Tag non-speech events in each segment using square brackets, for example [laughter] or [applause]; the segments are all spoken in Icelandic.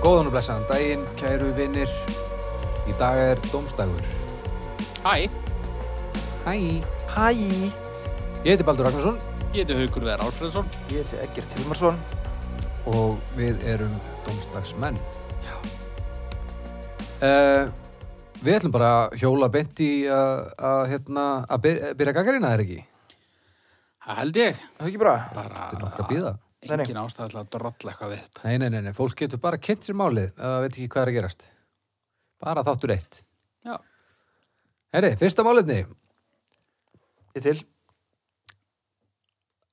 Góðan og blessaðan daginn, kæru vinnir. Í dag er domstagur. Hæ, Hæ. Hæ, Ég heiti Baldur Ragnarsson ég heiti Haukur Veðar Árfræðsson. ég heiti Eggert Hilmarsson. og við erum domstagsmenn. Já. Eh, við ætlum bara að hjóla beint í að, að, hérna, að byr- eh, byrja gaggarina, er ekki? Það held ég. Það er ekki bra. Bara Þetta er nokkra að býða. Nei, nei. engin ástæða til að drolla eitthvað við þetta. Nei, nei, nei, nei, fólk getur bara kynnt sér málið, það veit ekki hvað er að gerast. Bara þáttur eitt. Já. Herri, fyrsta máliðni, Ég til.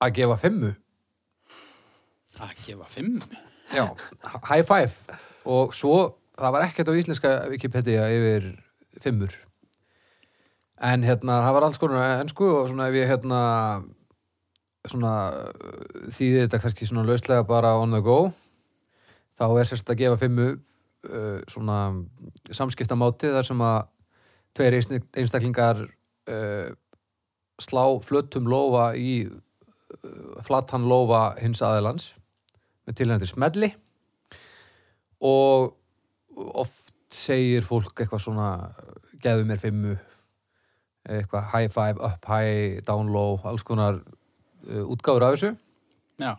að gefa fimmu. Að gefa fimm. Já, high five og svo, það var ekkert á íslenska Wikipedia yfir fimmur en hérna það var alls konar ennsku og svona ef ég hérna svona uh, þýði þetta kannski svona lauslega bara on the go þá er sérst að gefa fimmu uh, svona samskiptamáti þar sem að tveir einsni- einstaklingar uh, slá flötum lófa í uh, flatan lófa hins aðeilans með tilhendir smelli og oft segir fólk eitthvað svona gefðu mér fimmu eitthvað high five, up high, down low alls konar uh, útgáfur af þessu Já,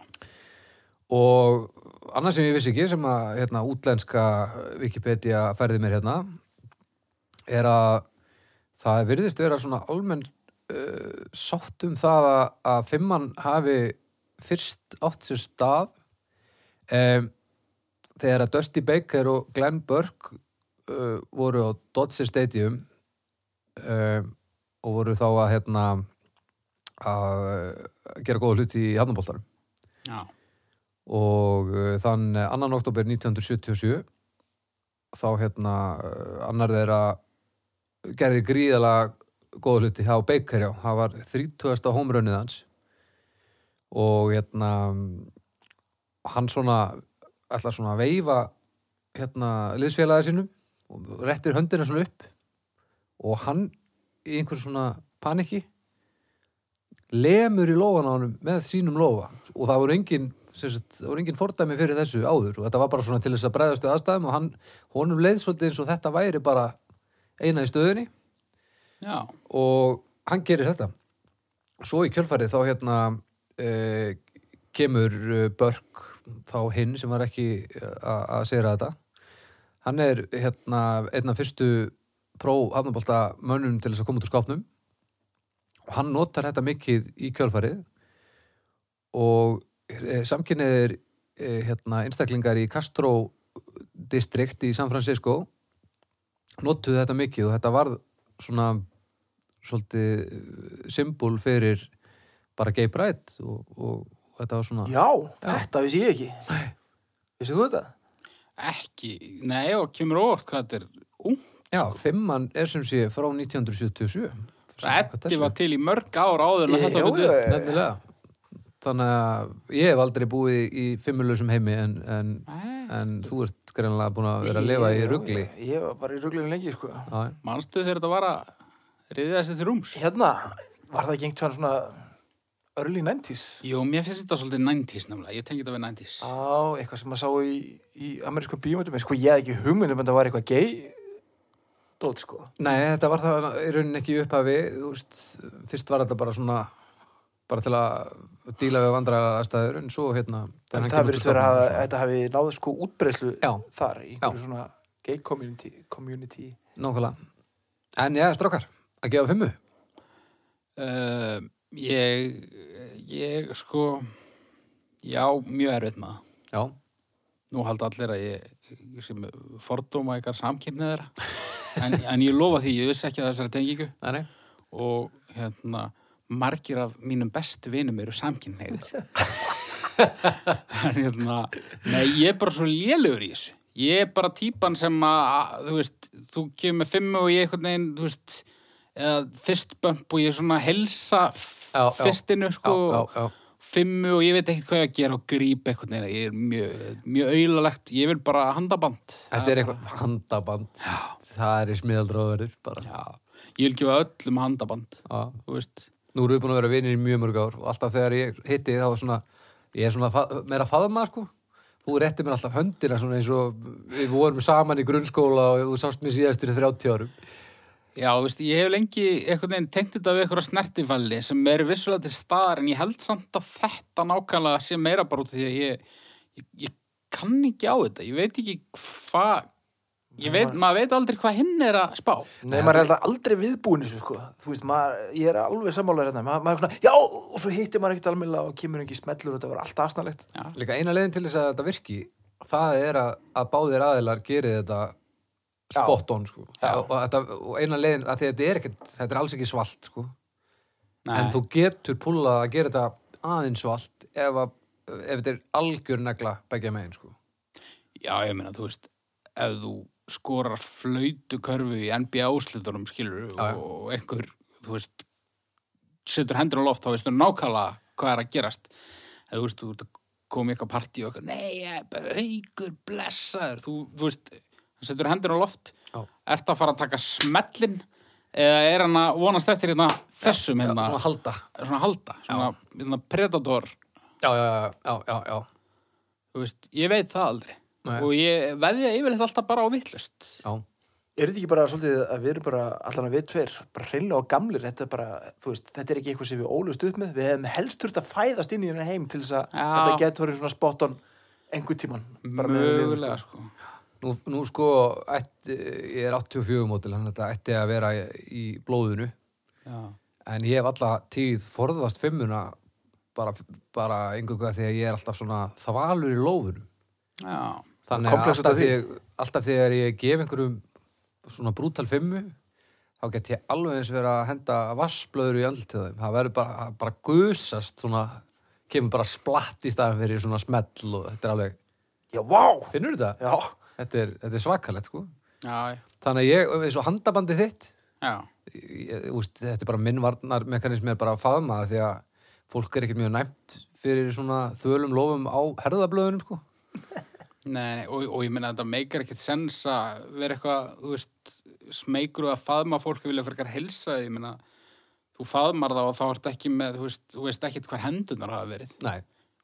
og annað sem ég vissi ekki sem að hérna, útlenska Wikipedia færði mér hérna er að það virðist vera svona almenn uh, sátt um það að, að fimmann hafi fyrst átt sér stað um, þegar að Dusty Baker og Glenn Burke uh, voru á Dodger Stadium um, og voru þá að hérna að eh, gera góða hluti í hafnaboltarum já, og uh, þann eh, 2. oktober 1977 þá hérna eh, annar þeirra gerði gríðalega góð hluti hjá Baker já, það var 30. homrunnið hans og hérna hann svona ætlar svona að veifa hérna liðsfélagi sínum og rettir höndina svona upp og hann í einhver svona paniki lemur í lófan á honum með sínum lófa og það voru engin sem sagt, það voru engin fordæmi fyrir þessu áður og þetta var bara svona til þess að bregðast við aðstæðum og hann, honum leið svolítið eins og þetta væri bara eina í stöðunni já, og hann gerir þetta svo í kjölfarið þá hérna e, kemur eh, Börk þá hinn sem var ekki eh, að að segja þetta hann er hérna einn af fyrstu pró hafnabolta mönnum til þess að koma út úr skápnum og hann notar þetta mikið í kjölfarið og e, samkynniðir e, hérna einstaklingar í Castro distrikt í San Francisco notuðu þetta mikið og þetta varð svona svolítið eh, symbol fyrir bara gay pride og, og, og þetta var svona Já, þetta vissi ég ekki. Nei. Vissið þú þetta? ekki. Nei, og kemur óvart hvað þetta er ung. Já, fimman er sem sé frá 1977 Samkvæmt Þetta þessu. var til í mörg ár áður en Ég- þetta fyrir jú, upp. jú, Nefnilega Þannig að ég hef aldrei búið í fimmulösum heimi en, en, Nei, en þú ert greinlega búin að vera að lifa í Ég- rugli Ég, ég var bara í ruglinu lengi, sko. Já, já. Manstu þegar þetta var að riðja þessi til rúms? Hérna, var það gengt hann svona early 90s? Jú, mér finnst þetta svolítið 90s nefnilega. Ég tengi þetta við 90s. Á, eitthvað sem maður sá í, í amerískum bíómyndum. en Sko, ég hef ekki hugmyndum en það var eitthvað gay. Dót, sko. Nei, þetta var það í rauninni ekki í upphafi þú veist, fyrst var þetta bara svona bara til að díla við vandræða aðstæður en svo hérna þegar En hann það kemur út úr verðist vera skápnum að og þetta hafi náðu sko útbreyslu Já. þar í Já. einhverju svona gay community. community. svona. Nákvæmlega En já, strákar, að gefa fimmu Uh, ég, ég sko, já, mjög erfitt maður. Já, Nú halda allir að ég, ég sem fordóma ykkar samkynniðra. En, en ég lofa því, ég vissi ekki að þessari tengingu nei, nei og hérna, margir af mínum bestu vinum eru samkynniðir. en hérna, nei, ég er bara svo lélugur í þessu. Ég er bara típan sem að, að, þú veist, þú kemur með fimmu og ég einhvern veginn, þú veist, eða fyrstbömp og ég svona helsa Já, já. fyrstinu, sko, já, já, já. fimmu og ég veit ekkert hvað ég á að gera og grípa eitthvað neina, ég er mjög, mjög auðalegt, ég vil bara handaband. Þetta er eitthvað handaband Það er í smiðaldróðurir bara Já, ég vil gefa öllum handaband, Já. þú veist. Nú erum við búin að vera vinir í mjög mörg ár og alltaf þegar ég hitti þá er svona, ég er svona fa meira faðma sko þú rétti mér alltaf höndina svona eins og við vorum saman í grunnskóla og þú sást mér síðast fyrir 30 árum Já, þú veist, ég hef lengi einhvern veginn tengt þetta við einhverja snertifalli sem er vissulega til staðar en ég held samt að þetta nákvæmlega sé meira bara út af því að ég, ég, ég kann ekki á þetta. Ég veit ekki hvað, ég veit, maður veit aldrei hvað hinn er að spá. Nei, maður er alltaf aldrei viðbúin þessu sko Þú veist, maður, ég er alveg sammálaður hérna maður, maður er svona, já, og svo hittir maður ekkert alveg og kemur ekki smellur og þetta var alltaf asnalegt Líka eina leiðin til þess að þetta virki það er að, að báðir aðilar geri þetta spot on sko. Já. og, þetta, og eina leiðin að því að þetta er, ekkert, þetta er alls ekki svalt sko. Nei, en þú getur púlað að gera þetta aðeins svalt ef, að, ef þetta er algjör negla begja megin sko. Já, ég meina, þú veist, ef þú skorar flöytukörfu í NBA úslitunum, skilur, Já, já. og einhver, þú veist, setur hendur á loft, þá veistu nákvæmlega hvað er að gerast. Ef þú veist, þú ert að koma í eitthvað partí og eitthvað, nei, ég er bara haugur, blessaður, þú, þú veist, hann setur hendur á loft, Já. ert að fara að taka smellin, eða er hann að vonast eftir hérna þessum Já, hérna, svona halda svona halda, svona hérna predator, já, já, já, já, já, já. þú veist, ég veit það aldrei. Nei. Og ég veðja yfirleitt alltaf bara á vittlust. já. Er þetta ekki bara svolítið að við erum bara allan að við tveir, bara hreinlega og gamlir þetta er bara, þú veist, þetta er ekki eitthvað sem við ólust upp með við hefum helst þurft að fæðast inn í hérna heim til þess að Já. þetta getur verið svona spot on einhver tíman Mögulega, sko. Nú, nú sko, ætti, ég er 84 mótil, þannig að þetta ætti að vera í blóðinu, Já. en ég hef alla tíð forðast fimmuna bara, bara einhverjum því að ég er alltaf svona þvalur í lófunum. Já. Þannig að Komplex út af alltaf, því. þegar, alltaf þegar ég gef einhverjum svona brútal fimmu, þá get ég alveg eins verið að henda vassblöður í andlutöðum. Það verður bara, það bara gusast svona, kemur bara splatt í staðan fyrir svona smell og þetta er alveg, Já, vá! finnur þetta? Já, Þetta er, þetta er svakalegt, sko. Já, Þannig að ég, eins og handabandi þitt, já. ég, úst, þetta er bara minnvarnarmekanismi er bara að faðma það því að fólk er ekkert mjög næmt fyrir svona þölum lofum á herðablöðunum sko. Nei, og, og ég meina að þetta meikar ekkert sens að vera eitthvað, þú veist, smeykur og að faðma fólk að vilja frekar helsa því, ég meina, þú faðmar þá og þá ertu ekki með, þú veist, þú veist ekkert hvar hendunar hafa verið. Nei,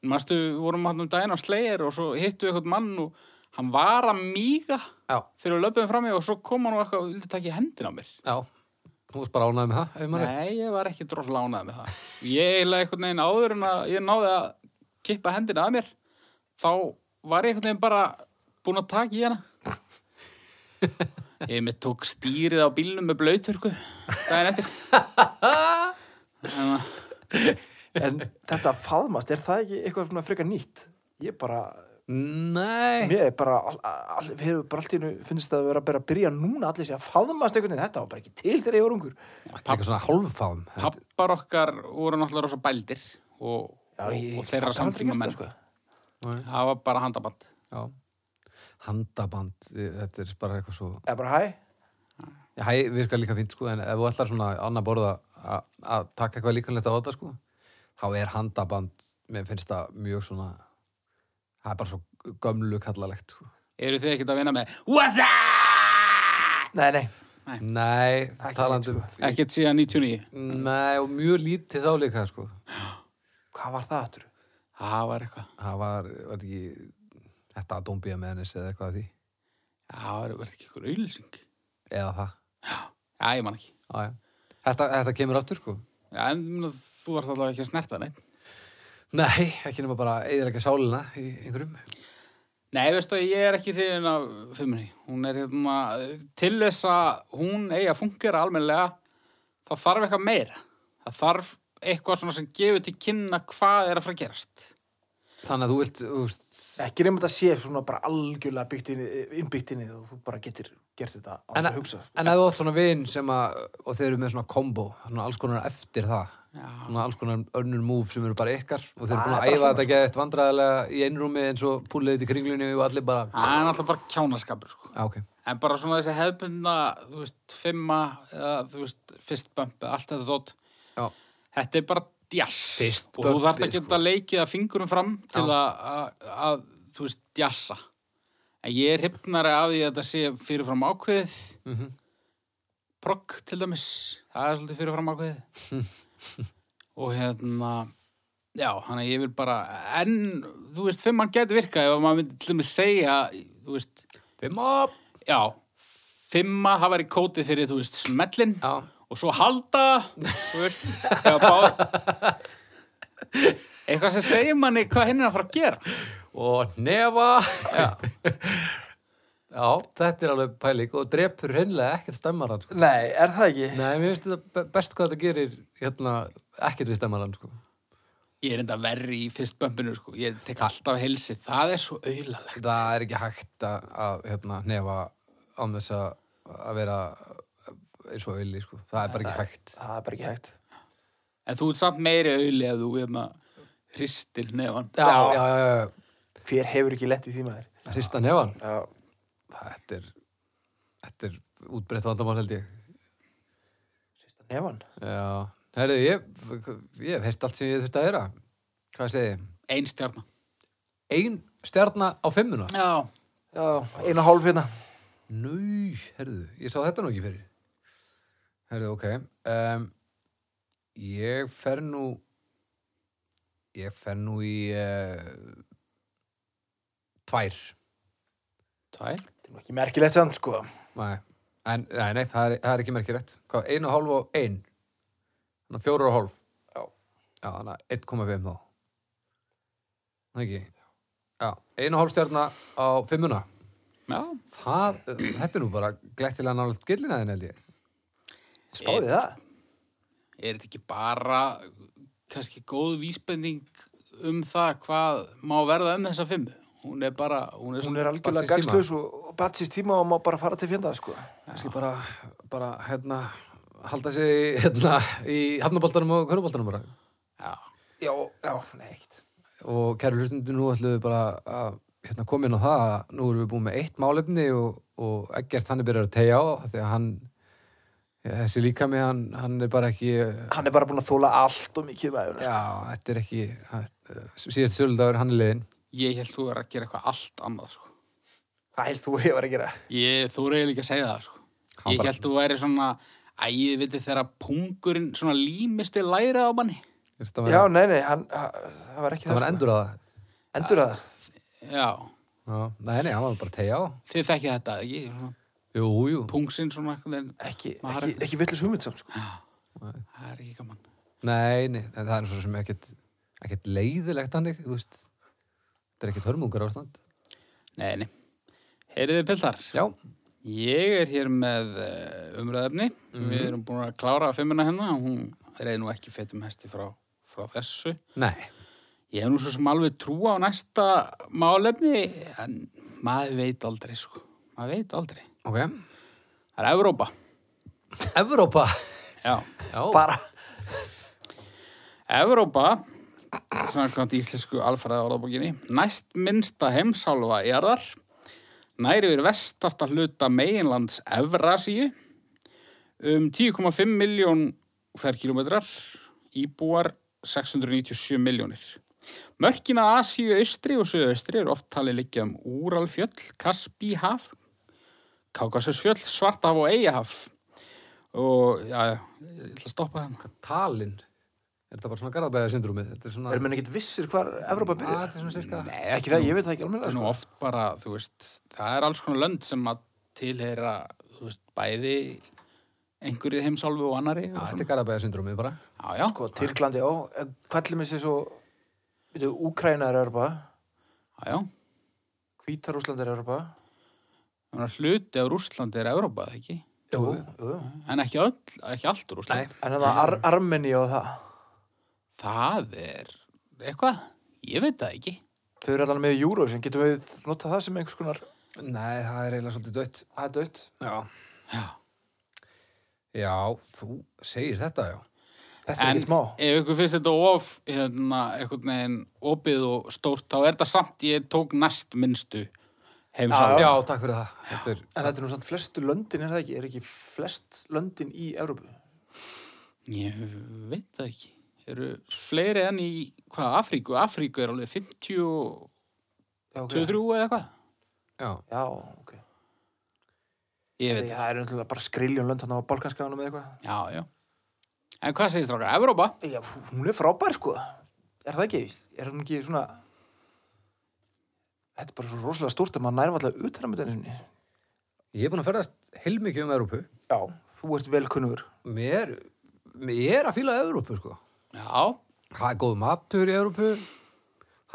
Manstu, við vorum hann um daginn á slegir og svo hittu við eitthvað mann og hann var að míga já, fyrir að löpum fram í og svo kom hann og eitthvað og vildi takja hendin á mér. já þú varst bara ánægð með það, ef maður rétt Nei, ég var ekki droslega ánægð með það. Ég eiginlega einhvern veginn áður en að ég náði að kippa hendina að mér, þá var ég einhvern veginn bara búin að taka í [laughs] hana. Ég mitt tók stýrið á bílnum með blöyturku. Það er eftir. Þannig að- en þetta faðmast, er það ekki eitthvað svona frekar nýtt? Ég bara, Nei, mér er bara, all, all, við hefum bara allt í hennu finnst það að vera bara að byrja núna allir sér að faðmast einhvern veginn, þetta var bara ekki til þegar ég var ungur. líka svona hálffám Pappar okkar voru náttúrulega rosa bældir og, Já, ég- og, og þeirra ég- aldrei samtíma gert menn. það, sko. Það var bara handaband. já. handaband, eh, þetta er bara eitthvað svo Eða bara hæ, já, hæ, virka líka fínt sko, en ef þú ætlar svona annað borða að- að taka eitthvað líkanlegt á þetta sko, þá er handaband mér finnst það mjög svona það er bara svo gömlu kallalegt sko. Eru þið ekkert að vinna með What's up? nei, nei, Nei, Ekki talandum Ekkert síðan 99. Nei, og mjög lítið þá líka sko. hvað var það aftur? Það var eitthvað. Það var, var ekki Þetta að dómbíja með hennis eða eitthvað að því Það var verið ekki eitthvað auðlýsing. Eða það Já, ég man ekki. Á, já. þetta, þetta kemur aftur sko Já, en ég meina, þú ert allavega ekki að snerta neitt. Nei, ekki nema bara eðilega sálina í einhverjum Nei, veistu, ég er ekki hrifin af fimmunni. Hún er hérna, til þess að hún eigi að fungera almennilega, þá þarf eitthvað meira. Það þarf eitthvað svona sem gefur til kynna hvað er að fara að gerast. Þannig að þú vilt þú veist, Ekki nefnum þetta sé svona bara algjörlega byggt inn, innbyggt inn í það og þú bara getur gert þetta á En þess að að- hugsa. sko. En ef þú átt svona vin sem að og þeir eru með svona kombo, svona alls konar eftir það Já, svona alls konar önnur múf sem eru bara ykkar og þeir eru Það búin að er bara æfa svona, sko. þetta geða eitt vandræðilega í einrúmi eins og púlið þetta í kringlunni og allir bara það er náttúrulega bara kjánaskapur, sko. Já, ok, En bara svona þessi hefðbundna, þú veist, fimma, eða, þú veist, fyrstbömpi, allt þetta þótt, já, þetta er bara djass. Fyrst Og þú þarf bumpið, að geta leikið að fingurum fram til Já. að, að, að, þú veist, djassa. En ég er hrypnari af því að þetta sé fyrirfram ákveðið. mhm Progg [laughs] til dæmis, það er svolítið fyrirfram ákveðið. og hérna, já, hann að ég vil bara, en, þú veist, fimmann getur virkað ef maður myndi til að segja, þú veist, Fimm upp! já, fimma, það væri kótið fyrir, þú veist, smellin Já, og svo halda, þú veist, já, bá, eitthvað sem segir manni hvað hinn er að fara að gera. og nefa Já, Já, þetta er alveg pæling og drepur hreinlega ekkert stemmarann sko. Nei, er það ekki? Nei, mér finnst þetta be- best hvað þetta gerir hérna, ekkert við stemmarann sko. ég er enda verri í fyrst bömpinu, sko, ég tek alltaf hilsið, það er svo auðalegt. Það er ekki hægt að, að hérna, nefa án þess að að vera eins og auðli sko. það er bara ekki hægt Það er bara ekki hægt. En þú ert samt meiri auðli ef þú hérna hristir nefan. Já, já, já, já, já. Hver hefur ekki lent í því maður? hrista nefan Já. Þetta er, þetta er útbreytt vandamál held ég Sýsta nefan. Já, herru, ég, ég hef heyrt allt sem ég þurfti að heyra Hvað segi ég? Ein stjarna. Ein stjarna á fimmuna? Já. Já, eina hálf hérna. Nú, herðu, ég sá þetta nú ekki fyrir. Herðu, ok. Um, ég fer nú, ég fer nú í uh, tvær. Tvær. Þetta er nú ekki merkilegt samt, sko. Nei, en, nei, nei það, er, það er ekki merkilegt. Hvað, ein og hálf og ein? Þannig að fjóra og hálf. Já. Já, þannig að 1,5 þá. Það ekki? Já, ein og hálf stjarna á fimmuna. Já. Það, þetta er nú bara glættilega nálega gillinæðin held ég. Spáði það. Er þetta ekki bara kannski góð vísbending um það hvað má verða um þessa fimmu? Hún er bara, hún er Hún svona, er algjörlega Batsins tíma. gagslaus og batsist tíma og má bara fara til fjandað, sko. kannski bara, bara hérna, halda sig í, hérna, í hafnaboltanum og köruboltanum bara. já, Já, já, neitt. Og kæru hlustundi, nú ætlum við bara að hérna, koma inn á það að nú erum við búin með eitt málefni og, og Eggert hann er byrjar að tegja á af því að hann, þessi líkami, hann, hann er bara ekki, Hann er bara búin að þóla allt og mikið maður. já, þetta er ekki, síðast söludagur hann er liðin. ég held þú er að gera eitthvað allt annað, sko. Hvað helst þú hefur að gera? Ég, þú reyði líka að segja það, sko. Hann ég bara- held þú væri svona, æ, ég veit þegar pungurinn svona límisti lærið á manni. Það Já, var, nei, nei, hann, hann, það var ekki það var sko. endur að það. Endur að það. Já, Já, nei, nei, hann var bara að tegja á. þið þekkið þetta, ekki? Svona, Jú, jú. pungsinn svona, einhvern veginn. Ekki, Maður ekki, er- ekki villus hugmynd samt, sko. það er ekki gaman. Nei, nei, en það er svo sem ekkert, ekkert leiðilegt hannig, þú veist. Þetta er ekkert hörmungar ástand. Nei, nei. Heyriði piltar, Já, ég er hér með eh, umræðefni. Mhm. Við erum búin að klára fimmuna hennar. Hún reyði nú ekki fetum hesti frá, frá þessu. nei. Ég hef nú svo sem alveg trúa á næsta málefni, en maður veit aldrei, sko. Maður veit aldrei. Ok. Það er Evrópa. Evrópa. Já. Já, Bara, Evrópa, samkvæmt íslensku alfræða orðabókinni, næst minnsta heimsálfa jarðar, næri við vestasta hluta meginlands Evrasíu, um 10,5 miljón ferkilometrar, íbúar 697 miljónir. Mörkin að Asíu austri og söðaustri eru oft talið liggja um Úralfjöll, Kaspíhaf, Kákasusfjöll, Svartahaf og Eyjahaf. Og, já, já, ég ætla að stoppa þarna. hvað talinn? Er þetta bara svona garðabæða syndrúmið? Þetta er svona... erum við ekki vissir hvar Evrópa Að, byrjar? þetta er svona sirka. Nei, Ekki það, ég veit það ekki alveg. það er nú Sko. oft bara, þú veist, það er alls konar lönd sem að tilheyra, þú veist, bæði einhverju heimsálfu og annari. Já, og þetta svona. er garðabæða syndrúmið bara. já, já, Sko, Tyrklandi, já, en hvað til mér sér svo, veitu, Úkræna er Evrópa, já, já. Hvítarúsland er Evrópa, Þannig að hluti af Rússlandi er Európa, það ekki? Jú, jú, jú. En ekki, öll, ekki allt Nei. Rússlandi. en það Ar Armeni og það. Það er eitthvað, ég veit það ekki. Þau eru allan með júru, sem getum við notað það sem einhvers konar, Nei, það er eiginlega svolítið dött. það er dött. Já. Já. Já, þú segir þetta, já. Þetta er En ekki smá. ef ykkur finnst þetta of, hérna, einhvern veginn opið og stórt, þá er þetta samt, ég tók næst minnstu heimsálfu. Já. Já, takk fyrir það. Þetta er... En þetta er nú samt flestu löndin, er það ekki? Er ekki flest löndin í Evrópu? Ég veit það ekki. Eru fleiri enn í hvað Afríku? Afríku er alveg 50 og Já, ok. 23 eða eitthvað. Já. Já, ok. Ég veit það. Það er náttúrulega bara skriljón lönd hann á Balkanskaganum eða eitthvað. Já, já. En hvað segist rákar? Evrópa? Já, hún er frábær, sko. er það ekki, er hún ekki svona þetta er bara svo rosalega stórt að maður nærfa alltaf utanamöndinni Ég er búin að ferðast heilmikið um Evrópu. já, þú ert velkunnur Mér, mér er að fíla Evrópu, sko. Já, Það er góð matur í Evrópu.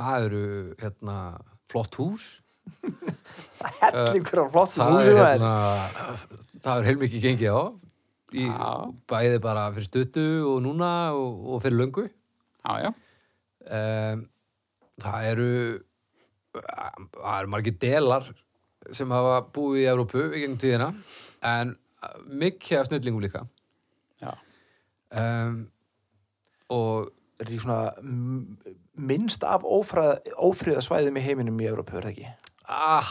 Það eru, hérna, flott hús. hellingur á flottum Það er, húsum maður. hérna, það er heilmikið gengið á. Í, Já. bæði bara fyrir stuttu og núna og, og fyrir löngu. já, já. Um, það eru, það eru margir delar sem hafa búið í Evrópu í gegnum tíðina. En mikið af snillingum líka. já. Um, og er því svona m- minnst af ófræð, ófríða svæðum í heiminum í Európu, er það ekki? Ah,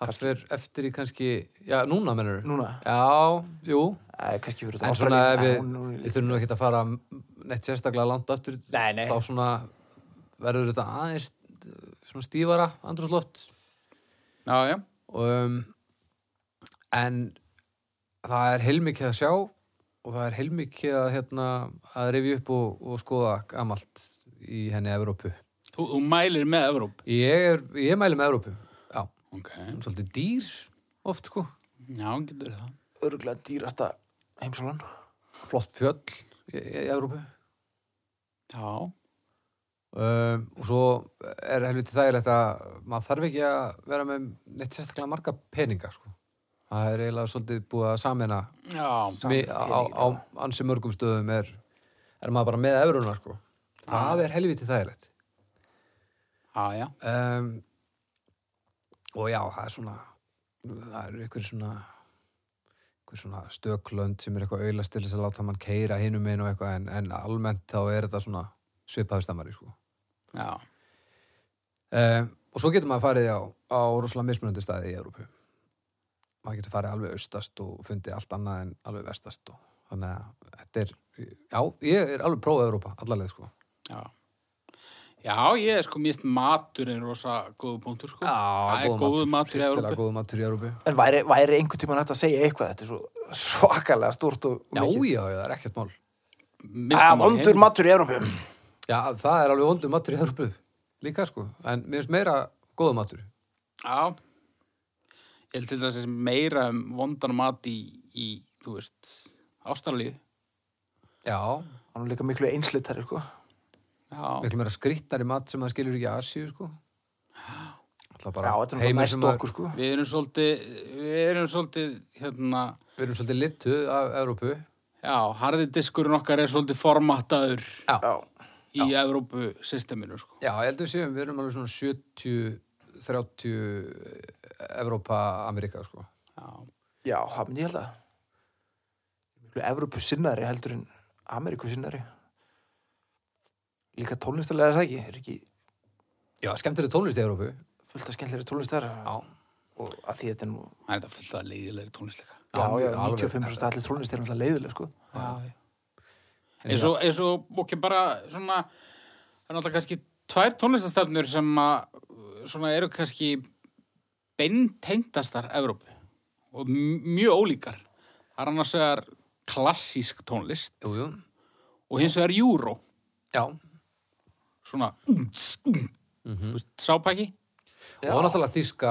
það fyrir eftir í kannski Já, núna mennur Núna? Já, jú Æ, kannski fyrir En svona ef við, við við... þurfum nú ekki að fara neitt sérstaklega langt aftur Nei, nei. þá svona verður þetta aðeins eh, svona stífara andrúsloft Já, já. og um, en það er heilmikið að sjá og það er heilmikið að hérna að rifja upp og, og skoða gamalt í henni Evrópu Þú, þú mælir með Evróp. Ég, er, ég mæli með Evrópu Já, hún Ok. er svolítið dýr oft sko Já, getur það. Örgulega dýrasta heimsólan. flott fjöll í, í Evrópu Já. um, og svo er helviti þægilegt að maður þarf ekki að vera með neitt sérstaklega marga peninga sko. það er eiginlega svolítið búið að samina Já. Mi- á, á, á ansi mörgum stöðum er, er maður bara með evruna sko. það er helviti þægilegt Já, já. um, og já, það er svona það eru einhverjir svona einhver svona stöklönd sem er eitthvað auðlast til þess að láta mann keira hinum einu og eitthvað en, en almennt þá er þetta svona svipaðustamari sko. Já. Uh, og svo getur maður farið á, á rosalega mismunandi staði í Európu. Maður getur farið alveg austast og fundið allt annað en alveg vestast. Og, þannig að þetta er, já, ég er alveg prófað Európa, allarleið sko. Já. Já, ég er sko mist maturinn rosa góðu punktur sko. það er góðu matur í Hryllilega Evrópu. góður matur í Európu. En væri, væri einhvern tímann hægt að segja eitthvað, þetta er svo svakalega stórt og og Já, mikið. já, já, það er ekkert mál. Mistum Að á vondur heim. matur í Európu. Já, það er alveg vondur matur í Európu líka sko. En mér finnst meira góðu matur. Já. Ég held til þess meira um vondan mat í, í þú veist, Ástralíu. Já, Hann er líka miklu einslittari, sko. Já. miklu meira skrýttar í mat sem maður skilur ekki í Asíu [gasps] sko. Já, Já, þetta er náttúrulega næst okkur, sko. Við erum svolítið, við erum svolítið, hérna, Við erum svolítið littuð af Európu. já, harði diskurinn okkar er svolítið formattaður Já, í Evrópu-systeminu, sko. Já, ég held við séum, við erum alveg svona 70, 30 eh, Evrópa, Amerika, sko. Já. já, það myndi ég held að. Miklu Európu sinnari heldur en Ameríku sinnari. Líka tónlistalega er það ekki, er ekki Já, skemmtileg tónlist í Evrópu. fullt af skemmtleri tónlistar Já. og að því þetta er nú Það er þetta fullt að leiðilegri tónlistleika. já, já, mjög alveg. 95% allir tónlist er náttúrulega leiðileg sko. Já, En eins og, eins og ok, bara svona það er náttúrulega kannski tvær tónlistastefnur sem að svona eru kannski beintengdastar Evrópu og m- mjög ólíkar það er annars vegar klassísk tónlist Jú, jú. og hins vegar júró Já. svona unds, unds, þú veist, sápæki Já. Og náttúrulega þýska,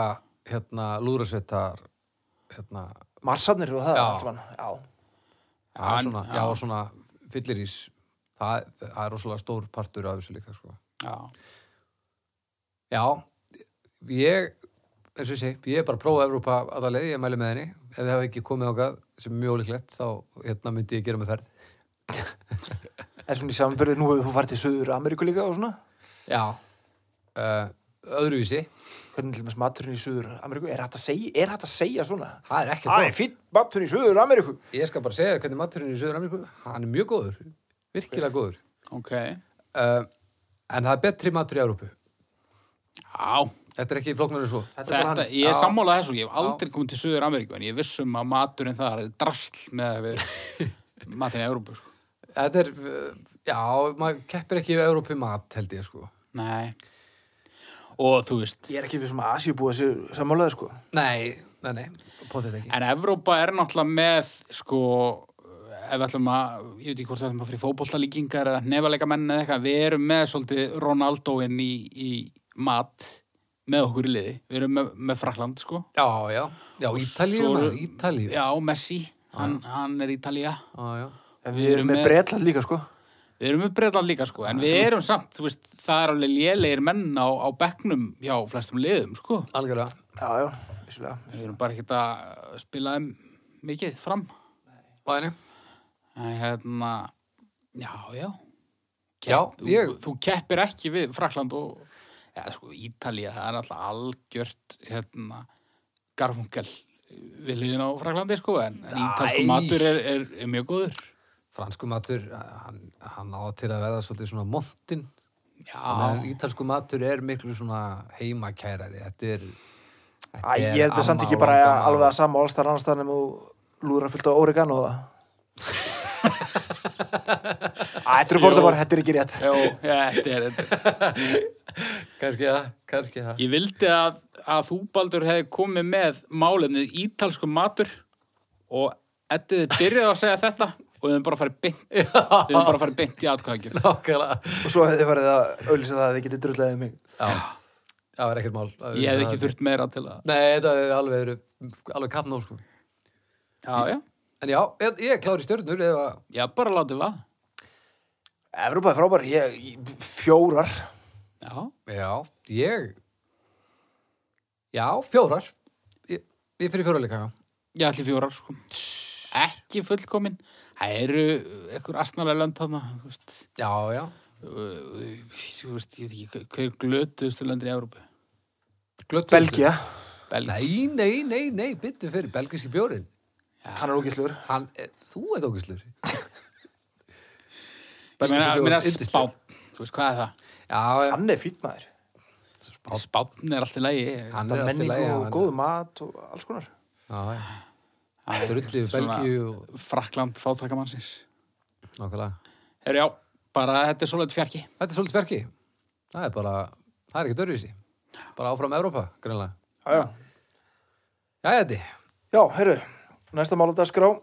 hérna, lúrasveitar, hérna, Marsarnir og það Já. allt saman já, já, Já, en- svona, já, já. svona fyllirís. Það, það er rosalega stór partur af þessu líka, sko. já, Já, ég, eins og ég segi, ég er bara að prófa Evrópa aðalegið, ég mæli með henni. Ef þið hafa ekki komið ákað, sem er mjög líklegt, þá hérna myndi ég gera mig ferð. en svona í samanbyrði nú hefur þú farið til Suður Ameríku líka og svona Já uh, Öðruvísi, hvernig til dæmis maturinn í Suður Ameríku er hægt að segja, er hægt að segja svona það er ekkert Æ, mál fýtt maturinn í Suður Ameríku Ég skal bara segja þér hvernig maturinn er í Söður Ameríku Hann er mjög góður, virkilega góður ok uh, En það er betri matur í Evrópu já, Þetta er ekki flóknarinn svo þetta er bara þetta, hann ég er Já. sammálað þessu ég hef aldrei komið til Suður Ameríku en ég er viss um að maturinn þar er drasl með við matinn í Evrópu sko. Þetta er, uh, já, maður keppir ekki við Evrópu mat held ég sko nei og þú veist ég er ekki við sem að Asíu búa sér sammálaði sko Nei, nei, nei, potið ekki En Evrópa er náttúrulega með sko ef við ætlum að, ég veit ekki hvort við ætlum að fyrir fótbollalíkingar eða nefaleikamenn eða eitthvað, við erum með svolítið Ronaldoinn í, í mat með okkur í liði. Við erum með, með Frakland, sko. Já, já, já, Ítalíu, svo- maður, Ítalíu. Já, Messi, hann, hann er Ítalía. Já, já. En við erum með Bretland líka, sko. Við erum með Breitland líka, sko, en við erum samt, þú veist, það er alveg lélegir menn á, á bekknum, já, flestum liðum, sko. Algjörlega. Já, já, vissulega. Við erum bara ekkert að spila þeim mikið fram. Bæni. En hérna, já, já. Já, þú, ég- Þú keppir ekki við Frakland og, já, sko, Ítalía, það er alltaf algjört, hérna, garfungal við liðin á Fraklandi, sko, en, en ítalsku Æ. matur er, er, er mjög góður. Fransku matur, uh, hann, hann á til að verða svolítið svona montin. Já, Meðan ítalsku matur er miklu svona heimakærari. Þetta er... Æ, ég er þetta samt ekki bara alveg að sama allstar annars þar nema þú lúðra fyllt á oregano það. [laughs] Æ, þetta eru fórtumar, þetta er ekki rétt. já, þetta er, þetta er. Kanski það, kannski það. Ég vildi að, að þú, Baldur, hefði komið með málefnið ítalsku matur og ettið þið byrjuð að segja þetta og við höfum bara farið beint við höfum bara farið beint í [laughs] atkvæðagjörn Nákvæmlega. Og svo hefði farið að auðlýsa það að þið getið drullaðið mig. Já, það er ekkert mál. Það Ég er- hefði ekki þurft meira til að Nei, þetta er alveg, alveg kapnál, sko. Já, já, En já, ég, ég er klár í stjörnur eða... já, bara látið vað Evrópa er frábær, ég, ég, fjórar. Já, Já, ég... Já, fjórar. Ég, ég fyrir fjórar líka, já. ég ætli fjórar sko Ekki fullkomin Það eru ekkur astnalega lönd þarna þú veist, Já, já. uh, þú veist, ég veit ekki hver- hver glötuðustu löndir í Evrópu Glötuðustu. Belgia, Belgi, Nei, nei, nei, nei, byttu fyrir belgiski bjórin. hann er ógislegur. Hann, er- þú ert ógislur. [laughs] ég meina, ég meina spán Þú veist, hvað er það? Já, já. Hann er fýtt maður. Spánn. Spánn er allt í lagi Hann er Það er alltaf menning læg. og góð mat og alls konar. Já, já. Það er Drullið við svona- Belgíu og Frakland fátakamannsins. nákvæmlega. Herru, já, bara þetta er svolítið fjarki. Þetta er svolítið verki. Það er bara, það er ekki dörfísi. Bara áfram Evrópa, greinlega. Já, já. Já, þetta. Já, herru, næsta mál á dagskrá.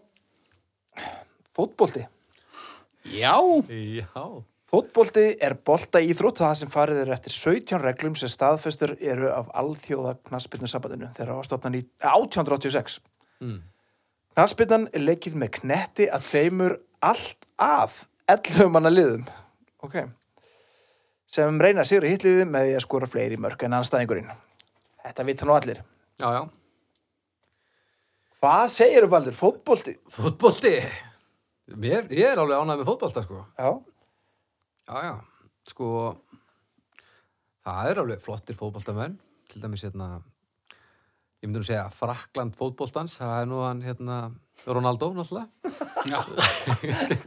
Fótbolti. Já, Já. Fótbolti er bolta íþrótt það sem farið er eftir 17 reglum sem staðfestur eru af alþjóða knassbyrnusabandinu þegar ástofnan í eh, 1886. Mm. Knassbyrnan er leikið með knetti að tveimur allt að 11 manna liðum. Ok. Sem reyna að sigra hitliðið með því að skora fleiri mörg en anstæðingurinn. Þetta vita nú allir. Já, já. Hvað segir um allir? Fótbolti? Fótbolti. Mér, ég er alveg ánægð með fótbolta, sko. Já. Já, já, sko það er alveg flottir fótboltamenn til dæmis hérna ég myndi nú segja Frakland fótboltans það er nú hann hérna Ronaldo náttúrulega já,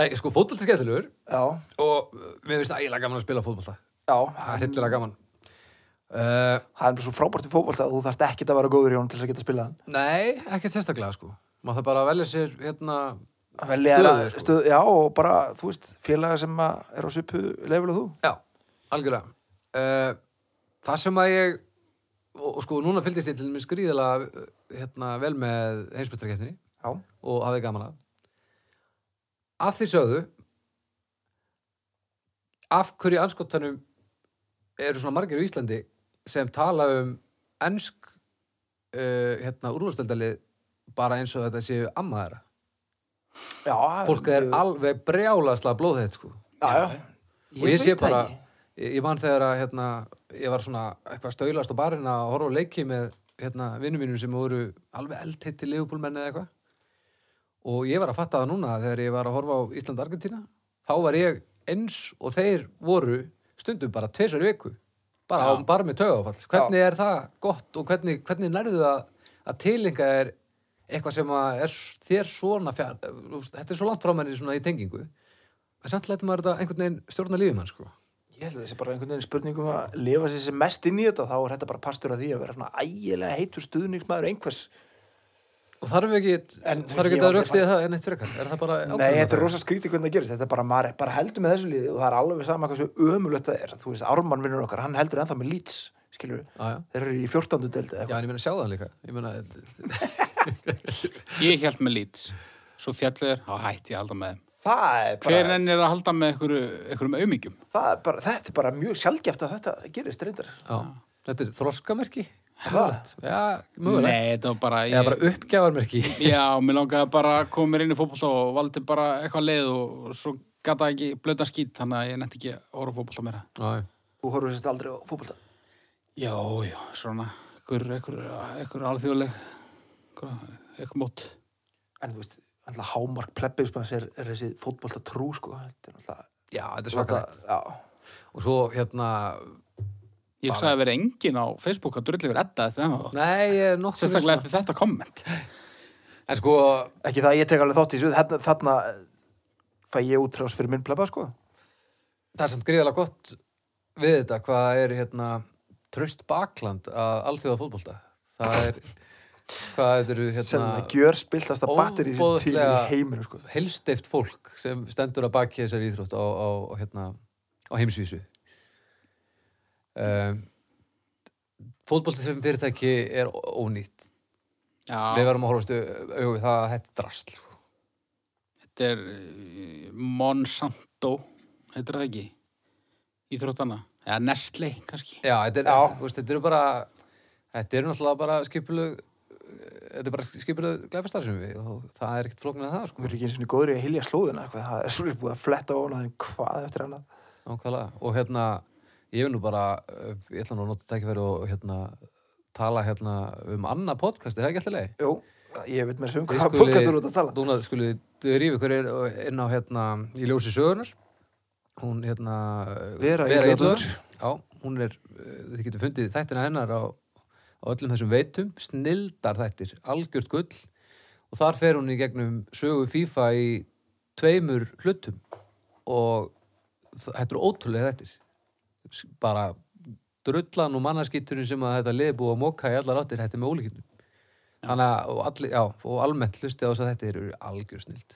Nei, sko fótbolt er skemmtilegur Já. og uh, mér finnst ægilega gaman að spila fótbolta Já. það er hillilega gaman uh, Það er bara svo frábært í fótbolta að þú þarft ekkert að vera góður í honum til þess að geta að spila hann. Nei, ekki sérstaklega sko maður það bara að velja sér hérna velja að, Stöðu, sko. stöðu, já, og bara, þú veist, félaga sem að er á svipu leifil og þú. já, algjörlega uh, það sem að ég og, og sko núna fylgist ég til mér skrýðilega uh, hérna vel með heimsbyrstakeppninni Já, og hafði gaman að að því sögðu af hverju anskotanum eru svona margir í Íslandi sem tala um ensk uh, hérna úrvalstendalið bara eins og þetta séu ammaðara já. fólk er alveg brjálasla blóðhett sko Já, já. og ég sé veit það bara ekki. ég, ég man þegar að hérna, ég var svona eitthvað stöylast á barinn að horfa á leiki með hérna, vinnum mínum sem voru alveg eldheitt til leifupúlmenn eða eitthvað og ég var að fatta það núna þegar ég var að horfa á Ísland-Argentína þá var ég eins og þeir voru stundum bara tveisar í viku bara, á, bara með tögafall hvernig er það gott og hvernig, hvernig nærðu að, að tilinga er eitthvað sem að er s- þér svona fjár, þú veist, þetta er svo langt frá manni svona í tengingu en samt lætur maður þetta einhvern veginn stjórna lífum hans sko. Ég held að þessi bara einhvern veginn spurningum að lifa sér sem mest inn í þetta, þá er þetta bara partur af því að vera svona ægilega heitur stuðningsmaður einhvers. og þarf ekki, En, þú þarf veist, ekki ég að var raukstið það en eitt frekar er það bara Nei, ákvörðun þetta er það? rosa skrítið hvernig það gerist, þetta er bara, maður er bara heldur með þessu liði og það er alveg sama hvað svo ömulögt það er. Þú veist, Ármann vinnur okkar, hann heldur ennþá með lýts, skilur Já, já. Þeir eru í 14. deldi eða já, en ég meina sjá það líka ég meina, Ég held með lít Svo fjallu er, þá hætti ég að halda með þeim Það er Hver bara, enn er að halda með einhverju, einhverjum aumingjum það er bara, þetta er bara mjög sjálfgeft að þetta gerist reyndar. Já. Þetta er þroskamerki? Það? Já, mögulegt. Nei, þetta var bara, Eða bara uppgjafarmerki. Já, mér langaði bara að koma mér inn í fótbolta og valdi bara eitthvað leið og, og svo gata ekki blöta skýt þannig að ég nefndi ekki að orða fótbolta meira Já, Þú horfum sérst aldrei á fótbolta. Já, já, svona einhver, einhver, einhver alþjóðleg einhver, einhver mót En þú veist, alltaf hámark plebbiðspans er, er þessi fótbolta trú, sko. Þetta er alltaf... já þetta er svaka. Já. Og svo hérna, Ég sagði að vera engin á Facebook að drulli verið edda þetta en þá nei, ég er nokkuð Sérstaklega eftir þetta komment viss. En sko, Ekki það að ég tek alveg þátt í svið. Þarna, þarna eh, fæ ég útrás fyrir minn plebba, sko. það er samt gríðalega gott við þetta, hvað er hérna tröst bakland að alþjóða fótbolta. Það er, hvað þetta eru Sem það hérna gjör spiltast að batteri sem tími í Óboðslega- heiminu, sko. helsteift fólk sem stendur að baki þessari íþrótt á, á, á, hérna, á heimsvísu. Um, fótbolti sem fyrirtæki er ó- ónýtt. Við Já, verðum að horfast au- augu við það að þetta er drasl. sko. þetta er eh, Monsanto heitir það ekki Íþróttana Eða Nestle, kannski Já, þetta er, Já. þetta- þú veist, þetta eru bara, þetta eru náttúrulega bara skipulug, þetta er bara skipulug glæfastar sem við og það er ekkert flóknir að það, Við sko. erum ekki eins og góður í að hilja slóðina, hvað það er svolítið búið að fletta ofna þeim hvað eftir annað. Nákvæmlega. Og hérna, ég vil nú bara, uh, ég ætla nú að nota tækifæri og hérna, tala hérna um annað podcast, er það ekki alltaf leið? Jú, ég veit mér sem um Við hvað skuli- bókastur út að tala. Núna skulum við rífi ykkur er- inn á hérna í ljósi sögunar hún hérna Vera Illugadóttir. Illugadóttir. Já, hún er, eh, þið getur fundið þættina hennar á, á öllum þessum veitum snildar þættir, algjört gull og þar fer hún í gegnum sögu FIFA í tveimur hlutum og þ- þetta eru ótrúlega þættir S- bara drullan og mannaskýtturinn sem að þetta liði búið að móka í allar áttir, þetta er með ólíkindum þannig að og, allir, já, og almennt hlusti á þess að þetta eru algjör snild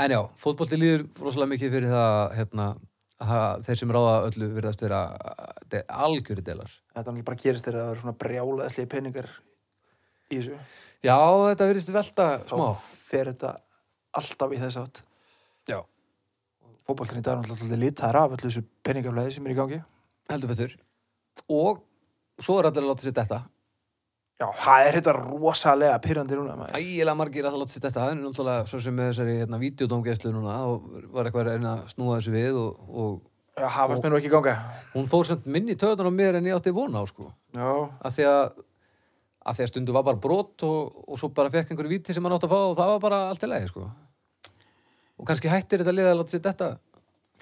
en já, fótbolti líður rosalega mikið fyrir það hérna, að þeir sem ráða öllu virðast vera eh, de, algjöri delar Þetta er alveg bara gerist þegar það er svona brjálaðislega peningar í þessu. já, þetta virðist velta Þá smá fer þetta alltaf í þess átt. já. Fótballin í dag er náttúrulega svolítið litaður af öllu þessu peningaflæði sem er í gangi. heldur betur og svo er allir að láta sér þetta Já, það er þetta rosalega pyrrandi núna. maður. ægilega margir að það láta sér þetta en náttúrulega svo sem með þessari hérna, videodómgeislu núna og var eitthvað að reyna að snúa þessu við og, og Já, það var mér nú ekki í ganga. hún fór samt minni töðan á mér en ég átti vona á sko Já, að því að að því að stundu var bara brot og, og svo bara fekk einhverju viti sem hann átt að fá og það var bara allt í lagi sko. og kannski hættir þetta liða að láta sér þetta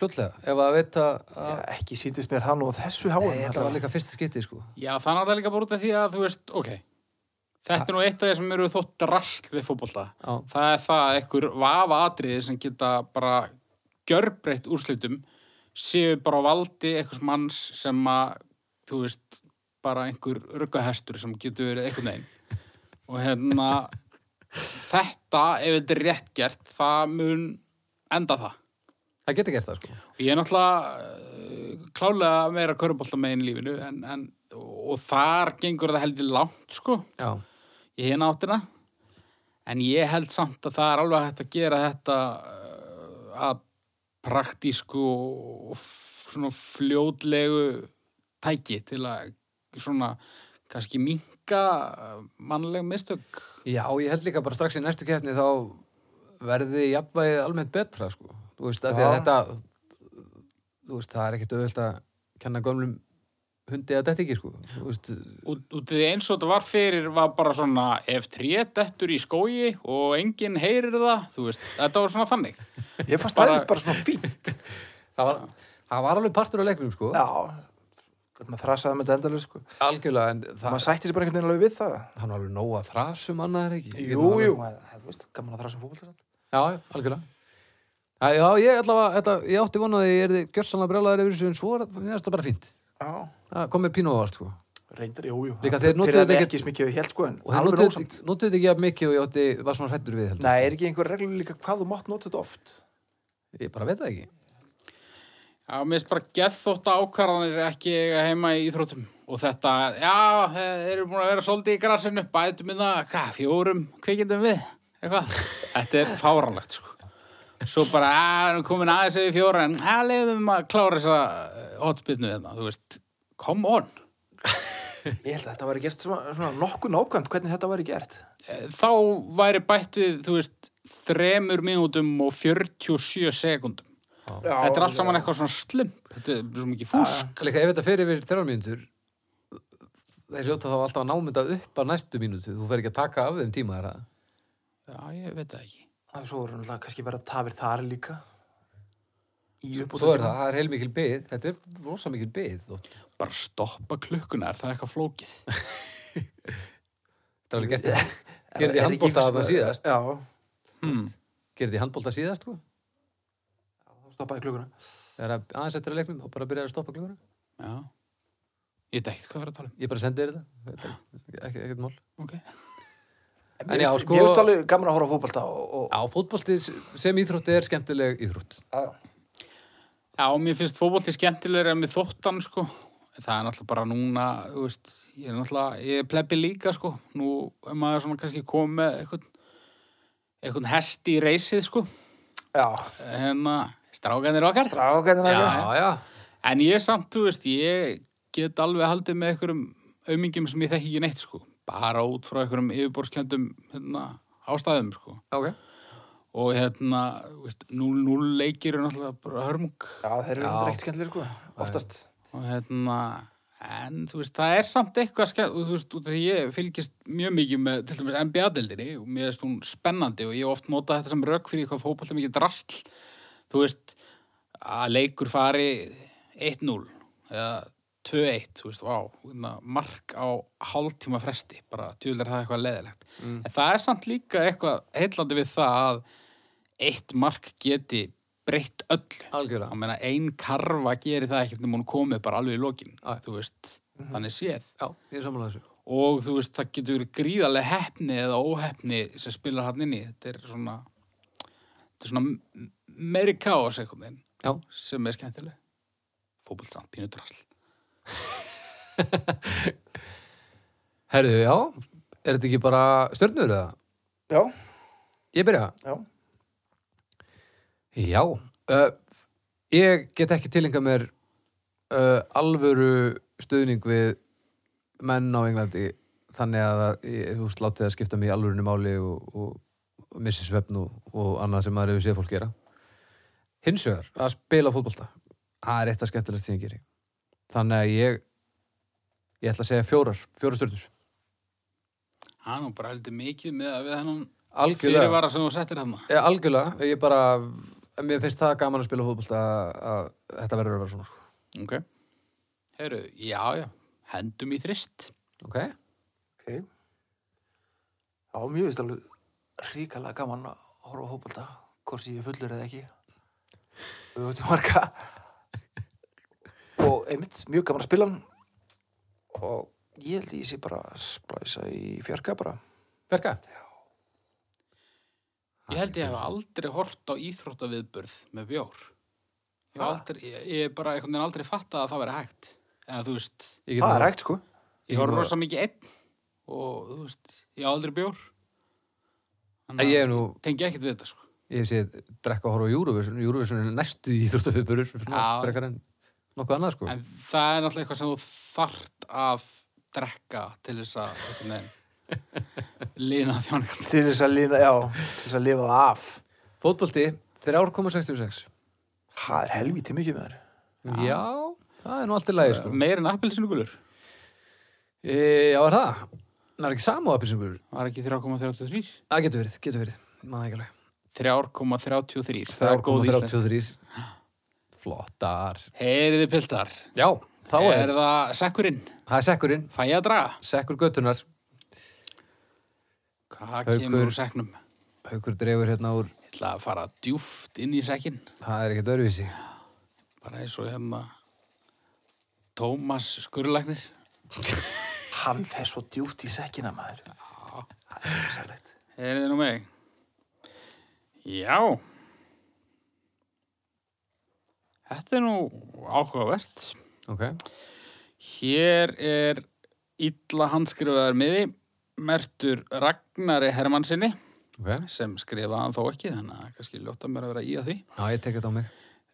fljótlega ef að veit að, að já ekki síndist mér það nú á þessu háum. nei, þetta var líka fyrsta skipti sko. Já, þannig að það er líka bara út af því að þú veist, ok Þetta er nú eitt af því sem eru þótt drasl við fótbolta Já. Það er það einhver vafa atriði sem geta bara gjörbreytt úrslitum séu bara á valdi einhvers manns sem að, þú veist bara einhver ruggahestur sem getur verið einhvern veginn og hérna þetta, ef þetta er rétt gert það mun enda það það getur gert það sko. Ég er náttúrulega uh, klálega meira körubolt með einu lífinu en, en, og þar gengur það heldur langt sko, já, í hinn áttina en ég held samt að það er alveg hægt að gera þetta uh, að praktísku og f- svona fljótlegu tæki til að svona kannski minka mannleg mistök já, ég held líka bara strax í næstu keppni þá verði jafnvægið almennt betra sko. þú veist, að því að Já. þetta þú veist, það er ekkit auðvöld að kenna gömlum hundi að þetta ekki sko. Þú veist, Út, út í því eins og þetta var fyrir var bara svona ef trét ettur í skói og enginn heyrir það, þú veist, þetta var svona þannig. Ég fannst það Bara- er bara svona fínt. það, var, það var alveg partur á leiknum sko. Já, hvernig maður þrasaði með þetta endalega, sko. algjörlega en það, Maður sætti sér bara einhvern veginn alveg við það. hann var alveg nóg að þrasum annað er ekki Ég Jú, get nú alveg- jú, það það- þú veist, gaman að þrasa um fótbolta. samt. já, já, algjörlega já, já, ég allavega, þetta, ég átti vona að ég erði gjörsanlega brjálaður yfir þessu en svo er þetta bara fínt Já, það kom mér pínu ávart sko og reyndar, jú, jú. Líka Það þeir notuðu pirraði þetta ekki ekki- smikið við held, sko, en það alveg notuðu ósamt. þetta- notuðu þetta ekki að mikið og ég átti, var svona hrættur við heldur Nei, er ekki einhver reglur líka hvað þú mátt nota þetta oft? ég bara veit það ekki Já, mér finnst bara geðþótt ákvarðanir ekki eiga heima í íþróttum og þetta, já, þeir eru búin að vera svolítið í grasinu, bætum við það, hvað, fjórum, kvikindum við, eitthvað. Þetta er fáránlegt, sko. Svo bara, að, erum komin aðeins eða í fjóra, en að leiðum að klára þessa hotspilnu þetta, þú veist, come on. Ég held að þetta væri gert svona, svona nokkuð nákvæmt hvernig þetta væri gert. Þá væri bætt við, þú veist, þremur mínútum og 47 sekundum. Já, Þetta er allt saman eitthvað svona slump, þetta er svo mikið fúsk. Líka ef þetta fer yfir þrjár mínútur þeir hljóta þá alltaf að námynda upp að næstu mínútu, þú fer ekki að taka af þeim tíma þeirra. Já, ég veit það ekki. En svo voru náttúrulega kannski bara tafir þar líka. Í uppbóta Svo er það, það er heilmikil byð, þetta er rosa mikil byð oft. bara stoppa klukkuna, er það eitthvað [laughs] flókið? Þetta var alveg gert í- gerði í handbólta þarna síðast Já, Hmm. gerði í handbólta síðast, sko þá stoppaði klukkuna. þegar að- aðeins eftir að leiknum og bara byrjaði að stoppa klukkuna Já. Ég veit ekkert hvað verður að tala um. ég bara sendi þér þetta Þetta er ekki, ekkert mál Ok. En já, sko- Ég veist alveg gaman að horfa á fótbalta og... og á fótbolti sem íþrótti er skemmtileg íþrótt Já. Já, mér finnst fótbolti skemmtilegur en mér þóttan, sko. Það er náttúrulega bara núna, þú veist, ég er náttúrulega, ég er plebbi líka, sko. Nú er maður svona kannski komið með eitthvað, eitthvað hest í reysið, sko. já. Hérna, strákanir okkar. Strákan er Já, ekki. já, já, En ég samt, þú veist, ég get alveg haldið með einhverjum aumingjum sem ég þekki ekki neitt, sko. Bara út frá einhverjum yfirborskjöndum, hérna, ástæðum, sko. ok og hérna, þú veist, 0-0 leikir er náttúrulega bara hörmung Já, þeir eru Já. náttúrulega ekkert skemmtilegir, sko. Oftast. og hérna, en þú veist, það er samt eitthvað skemmt, og þú veist, út af því ég fylgist mjög mikið með, til dæmis, NBA-deldinni og mér veist hún spennandi og ég hef oft notað þetta sem rauk fyrir eitthvað fótbolta mikið drastl þú veist, að leikur fari 1-0 eða 2-1, þú veist, vá, hérna, mark á hálftíma fresti, bara tjúlega er það eitthvað leðilegt. Mm, En það er samt líka eitthvað heillandi við það að eitt mark geti breytt öllu. algjörlega Ég meina, ein karfa gerir það ekkert nema hún komið bara alveg í lokin, Já. þú veist, Mhm. þannig séð. já, ég er samanlega þessu Og þú veist, það getur verið gríðarlega heppni eða óheppni sem spilar hann inn í. Þetta er svona, þetta er svona m- meiri káos einhvern veginn já, sem er skemmtileg. Fótbolt samt, pínu drasl. herðu, já er þetta ekki bara stjörnur eða? Já, ég byrja, já. já uh, ég get ekki tilenga mér uh, alvöru stuðning við menn á Englandi þannig að það- ég, þú veist, látið að skipta mig í alvörinu máli og, og, og missi svefn og, og annað sem maður hefur séð fólk gera hins vegar, að spila fótbolta það er eitt að skemmtilegt sem ég geri þannig að ég ég ætla að segja fjórar, fjórar stjörnur Hann og bara heldur mikið með að við hennan algjörlega, fyrirvara sem þú settir hann. Ég, algjörlega. ég bara en mér finnst það gaman að spila fótbolta að, að þetta verður að vera svona sko. Ok. Heru, já, já, hendum í þrist. ok, Ok. Já, mér finnst alveg ríkalega gaman að horfa á hópulta, hvort sem ég er fullur eða ekki. Við út í marga. Og einmitt, mjög gaman að spila hann. Og ég held að ég sé bara að splæsa í fjarka bara. verka Ég held ég hef aldrei hort á íþróttaviðburð með bjór. Ég hef Ha? aldrei, ég, ég bara einhvern veginn aldrei fattað að það væri hægt. Eða þú veist, ég get Það er það- hægt, sko. Ég ég var má- rosa mikið einn og þú veist, ég á aldrei bjór. En ég er nú, tengi ekkert við þetta sko. ég hef séð drekka að horfa á Eurovision, Eurovision er næstu í Íþróttafiburur, Já. frekar en nokkuð annað sko. En það er náttúrulega eitthvað sem þú þart að drekka til þess að einhvern veginn lina þjóningum. Til þess að lína, já, til þess að lifa það af. Fótbolti, 3,66. Það er helvítið mikið með þér. Já. það er nú allt í lagi sko. Meir en appelsinugulur. E, já, er það? Það er ekki sama á appisingur. Var ekki 3,33? Það getur verið, getur verið. Maður ekki alveg. 3,33. Það er góð íslensk. 3,33. Flottar. Heyriði piltar. Já, þá er, er það sekkurinn. það er sekkurinn, Fæ ég að draga? sekkur göttunar. Hvað Haukur. kemur úr seknum? Haukur dregur hérna úr, Ég ætla að fara djúft inn í sekkin. það er ekkert öðruvísi. Bara eins og hérna Tómas skurlagnir. Hann fer svo djúpt í sekkina maður. Það er rosalegt. Heyrið nú mig. Já. Þetta er nú áhugavert. ok. Hér er illa handskrifaðar miði, mertur Ragnari Hermannsinni, Ok. sem skrifaði hann þó ekki, þannig að kannski ljóta mér að vera í að því. Já, ég tek þetta á mig.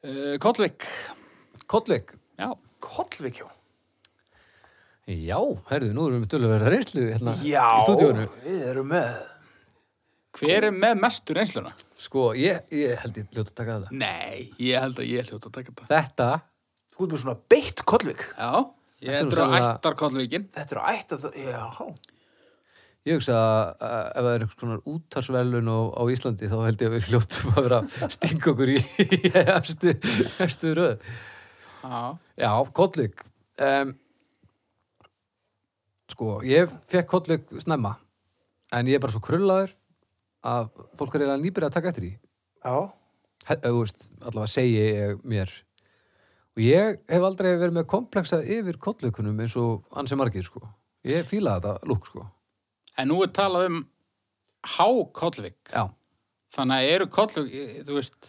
Uh, Kollvik, Kollvik. já, Kollvik, já. Já, herðu, nú erum við töluverða reynslu hérna Já, í stúdíónu. við erum með. hver er með mestu reynsluna? Sko, ég, ég held ég ljóta að taka þetta. Nei, ég held að ég hljóta að taka þetta. Þetta, Þú ert með svona beitt kollvik. Já, Þetta ég er nú endur á sennilega- ættar Kollvikin. Þetta er á ætt að það, já. ég hugsa að að ef það er einhvers konar útarsverlun á, á Íslandi þá held ég að við hljóttum að vera að stinga okkur í í efstu, efstu röð. Já, Já, Kollvik. Um, sko, ég fekk Kollvik snemma, en ég er bara svo krullaður að fólk er eiginlega nýbyrjað að taka eftir því. Já, he- þú veist, allavega segi ég mér og ég hef aldrei verið með kompleksa yfir kollaukunum eins og ansi margir sko ég fíla þetta lúk sko en nú er talað um Há-Kollvik. já, Þannig að eru Kollvik, þú veist,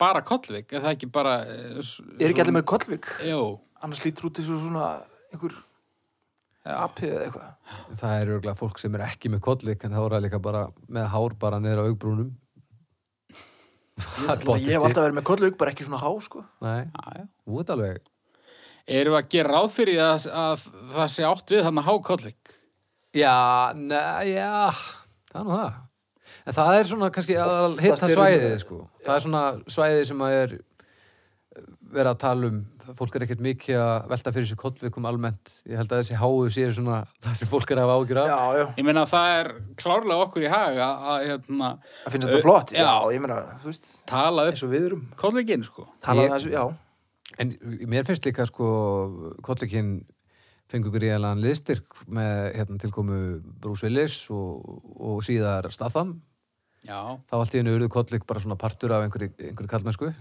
bara Kollvik, er það ekki bara... Er er ekki allir með kollvik? Jú, Annars lítur út þessu svona einhver já. apið eða eitthvað. það er örgulega fólk sem er ekki með kollauk en það voru líka bara með hár bara neður á augbrúnum Ég, ætla, ég hef alltaf verið með kollvik, bara ekki svona há, sko. Nei, Já, já. þú ert alveg Erum við að gera ráð fyrir því að, að það sé átt við þannig hákollik? Já, neða, já það er nú það en það er svona kannski að hitta eru- svæðið sko. það er svona svæðið sem að er vera að tala um fólk er ekkert mikið að velta fyrir sér kollvikum almennt, ég held að þessi háu séu svona [laughs] það sem fólk er að hafa ágjur af Já, já. Ég meina að það er klárlega okkur í hag að, að hérna, Það finnst Ö, þetta flott, já, já. ég meina, þú veist, tala upp eins og við erum. kollikinn, sko. Talaði Ég- þessu, já. en mér finnst líka sko kollvikinn fengur gríðalan liðstyrk með hérna, tilkomu Bruce Willis og, og síðar Statham Já, þá allt í hennu urðu kollvik bara svona partur af einhverju, einhverju kallmennsku já,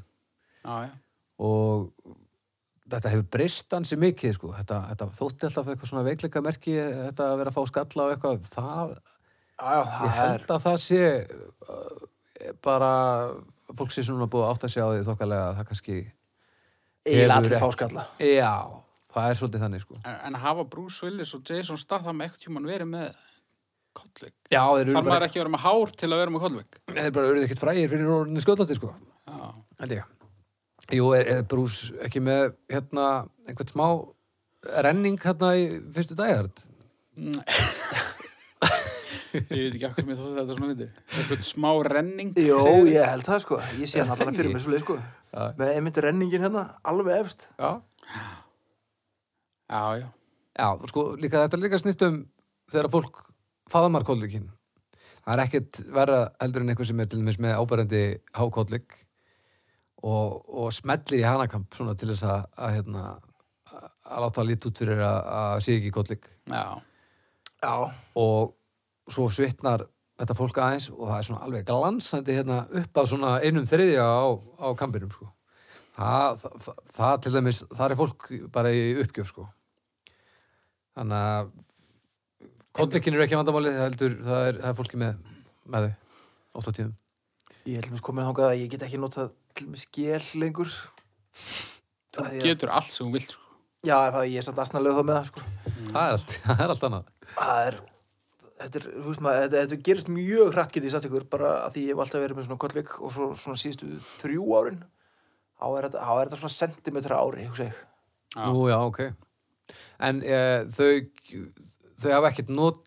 já. og þetta hefur breyst ansi mikið sko. þetta, þetta þótti alltaf eitthvað svona veikleika merki þetta að vera að fá skalla og eitthvað það, Já, já, ég það er, held að það sé uh, bara fólk sé svona búið að átta sig á því þokkalega að það kannski, eiginlega hefur allir ekki- fáskalla. já það er svolítið þannig sko En, en hafa Bruce Willis og Jason Statham eitthvað tímann verið með kollik? já, þeir eru Þar maður bara, ekki að vera með hár til að vera með kollik. þeir bara eru ekkert frægir fyrir orðinu skjóðlandi sko Já, held ég Jú, er, er Bruce ekki með hérna einhvern smá renning hérna í fyrstu dagart? ég veit ekki akkur mér þóði þetta svona viti. Eitthvað smá renning. Jó, segirðu? ég held það, sko. Ég sé hann allan fyrir mig svolítið, sko. Já. Með einmitt renningin hérna, alveg efst. Já. Já, já. Já, sko, líka þetta líka snýst um þegar fólk faðmar kollikinn. Það er ekkert verra heldur en eitthvað sem er til dæmis með áberandi hákollik og, og smellir í hanakamp svona til þess að, að, hérna, að- að láta lít út fyrir að, að sé ekki kollik Já, Já, og svo svitnar þetta fólk aðeins og það er svona alveg glansandi hérna upp að svona einum þriðja á, á kampinum sko. það, það, það, það til dæmis, það er fólk bara í uppgjöf sko. þannig að kontlikin eru ekki vandamálið það heldur, það er, það er fólki með, með þau, oft á tíðum Ég held mér komið þangað að ég get ekki notað til með skell lengur. þú Það ég, getur allt sem þú vilt, sko. já, það ég er satt aðsnaðlega þá með það, sko. það, er allt, [laughs] það er allt annað Það er, þetta er, þú veist maður, þetta, þetta gerist mjög hratt get ég satt ykkur, bara að því ég hef alltaf verið með svona kollvik og svo, svona síðustu þrjú árin, þá er þetta, þá er þetta svona sentimetra ári, hugsa ég. Já. Nú, já, ok. En e, þau, þau hafa ekkert not,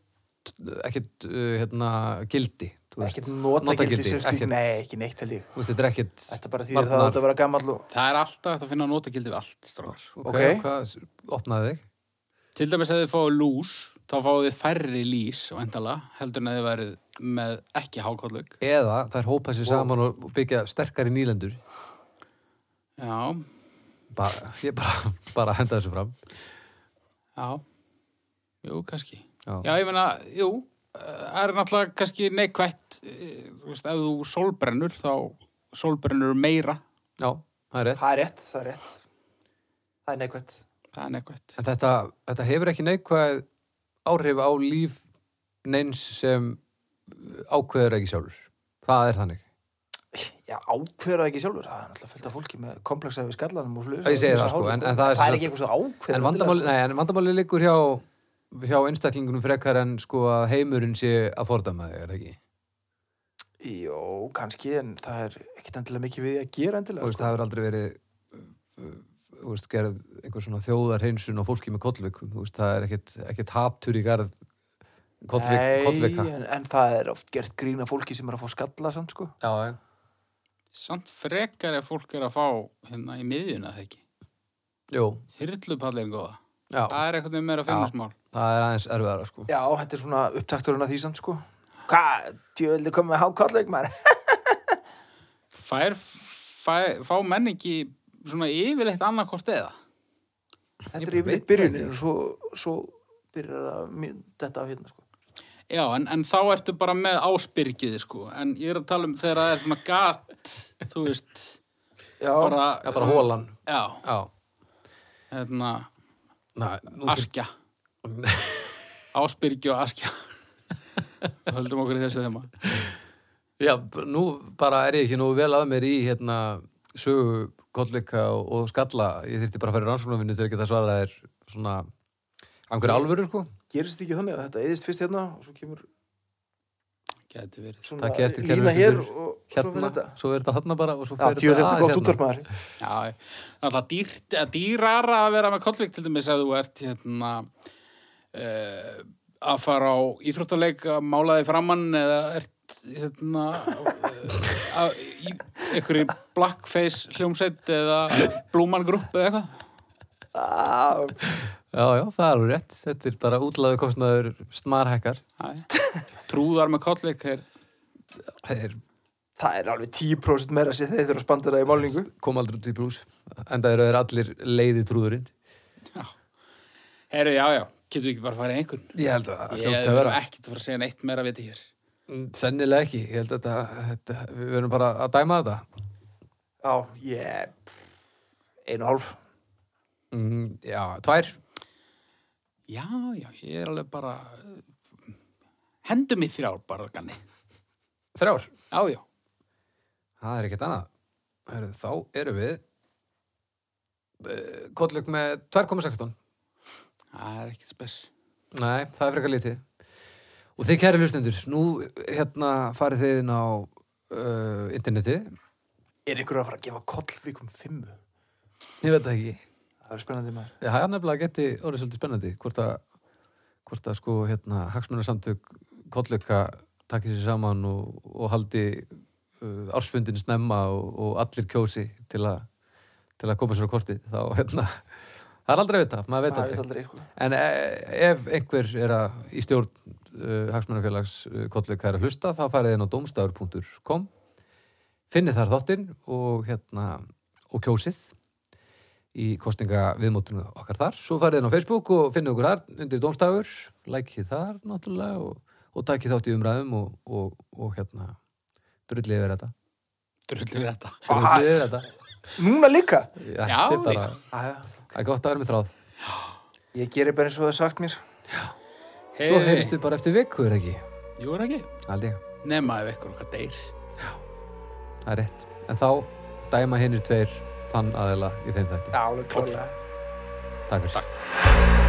ekkert, uh, hérna, gildi. þú veist. Ekkert notagildi sem slík, ekkert- nei, ekki neitt held ég. Þú veist, þetta er ekkert, Þetta bara því að það Barnar. átt að vera gamall og, Það er alltaf hægt að finna notagildi við allt, strákar. ok, Ok. okay. hvað, opnaði þig? Til dæmis ef þið fáið lús, þá fáið þið færri lís og endala, heldur en að þið værið með ekki hákollug. Eða þær hópa sér Og- saman og byggja sterkari nýlendur. Já, Bara, ég bara, [laughs] bara henda þessu fram. já, jú, kannski. Já, Já, ég meina, jú, eh, það er náttúrulega kannski neikvætt, eh, þú veist, ef þú sólbrennur, þá sólbrennur meira, Já, það er rétt. það er rétt, það er rétt. Það er neikvætt. það er neikvætt. En þetta, þetta hefur ekki neikvæð áhrif á líf neins sem ákveður ekki sjálfur. Það er þannig. já, ákveður það ekki sjálfur það er náttúrulega fullt af fólki með kompleksa við skallanum og slúðis Já, ég segi það, sko, en- en það er sem það er sagt- ekki eitthvað svo ákveður En vandamáli, nei, en vandamáli liggur hjá hjá einstaklingunum frekar en sko að heimurinn sé að fordama þig, er það ekki? Jó, kannski, en það er ekkit endilega mikið við því að Þú gera endilega sko. veist, það hefur aldrei verið uh, uh, þú veist, gerð einhver svona þjóðarheinsun á fólki með kollvikum, þú veist, það er ekkit, ekkit hatur í garð kollvik, kollvika. Nei, en, en það er oft gert grína fólki sem er að fá skalla samt, sko Já, já. Samt frekar ef fólk er að fá hérna í miðjuna þegar ekki. Jú, Þyrlupall er góða. já, Það er eitthvað með meira fengasmál. það er aðeins erfiðara, sko. Já, þetta er svona upptakturinn að því samt, sko Hvað, djöðli komið með hákallleik maður [laughs] Fær, fær, fá menn ekki svona yfirleitt annarkort eða? Þetta Ég er yfirleitt veit það byrjunin ekki. og svo, svo byrjar að mynd, þetta á hérna, sko Já, en, en þá ertu bara með áspyrgið, sko. En ég er að tala um þegar það er svona gat, þú veist, Já, bara... Já, bara hólan. Já, Já. hérna, Nei, nú fyrir... askja. Áspyrgi og askja. Höldum okkur í þessu þema. Já, b- nú bara er ég ekki nú vel að mér í hérna sögu kollvika og, og skalla. Ég þyrfti bara að fara í rannsóknarvinnu til að geta svarað þér svona einhverju alvöru, sko. gerist ekki þannig að þetta eðist fyrst hérna og svo kemur Gæti verið. svona Takk ég eftir lína kerfið hér fyrir- og svo fyrir Hérna, þetta svo er þetta hérna bara og svo Já, fer djöðu þetta þetta er aðeins gott hérna. útvarpmaður Já, alltaf dýr, dýrara að vera með kollvik til dæmis að þú ert, hérna, uh, að fara á íþróttaleik að mála þig framann eða ert, hérna, eh, að, í einhverju blackface hljómsveit eða blúman grúpp eða eitthvað. Á, Já, já, það er alveg rétt. Þetta er bara útlaðu kostnaður snarhekkar. Æ, trúðar með kollvik þeir Það er Það er alveg 10% meira sér þeir þurfa að spanda það í málningu kom aldrei út í blús. Enda eru þeir allir leiði trúðurinn. Herru, já, já, getur við ekki bara að fara í einhvern Ég held að það Ég hljóta að er vera. Mm, ekki að fara að segja neitt meira við þetta hér Sennilega ekki. Ég held að þetta, þetta, við verðum bara að dæma þetta. Já, ég Einu og hálf Mm, já, tvær. Já, já, ég er alveg bara eh, Hendum í þrjár bara, ganni Þrjár. Já, já, Það er ekkert annað. Heru, þá eru við Kollug með 2,16. það er ekkert spes Nei, það er frekar lítið. Og þið kæri hlustendur, nú hérna farið þið inn á uh, internetið. Er ykkur að fara að gefa kollvíkum fimmu? Ég veit það ekki. Það er spennandi maður Já, Það er nefnilega geti orðið svolítið spennandi hvort að, hvort að sko hérna hagsmunarsamtök kollöka takki sér saman og, og haldi uh, ársfundin snemma og, og allir kjósi til að, til að koma sér á kortið þá hérna það er aldrei að vita, maður veit Það veit aldrei aldrei ykkur en e ef einhver er að í stjórn uh, hagsmunarfélags uh, kollöka er að hlusta þá farið inn á domstafur.com finni þar þáttinn og hérna og kjósið í kostninga viðmótinu okkar þar svo farið inn á Facebook og finnið okkur þar undir dómstafur, lækið þar náttúrulega og, og takið þátt í umræðum og, og, og hérna drullið yfir þetta Drullu við þetta drullið yfir þetta Núna líka Já, Já, þetta er bara, Æja það er gott að vera með þráð Ég gerir bara eins og það er sagt mér svo Hey, heyrstu bara eftir viku er ekki Jú, er ekki aldrei, Nema ef ykkur okkar deyr það er rétt en þá dæma hinnir tveir þann aðeila í þeim þætti Já, alveg klálega takk fyrir Takk.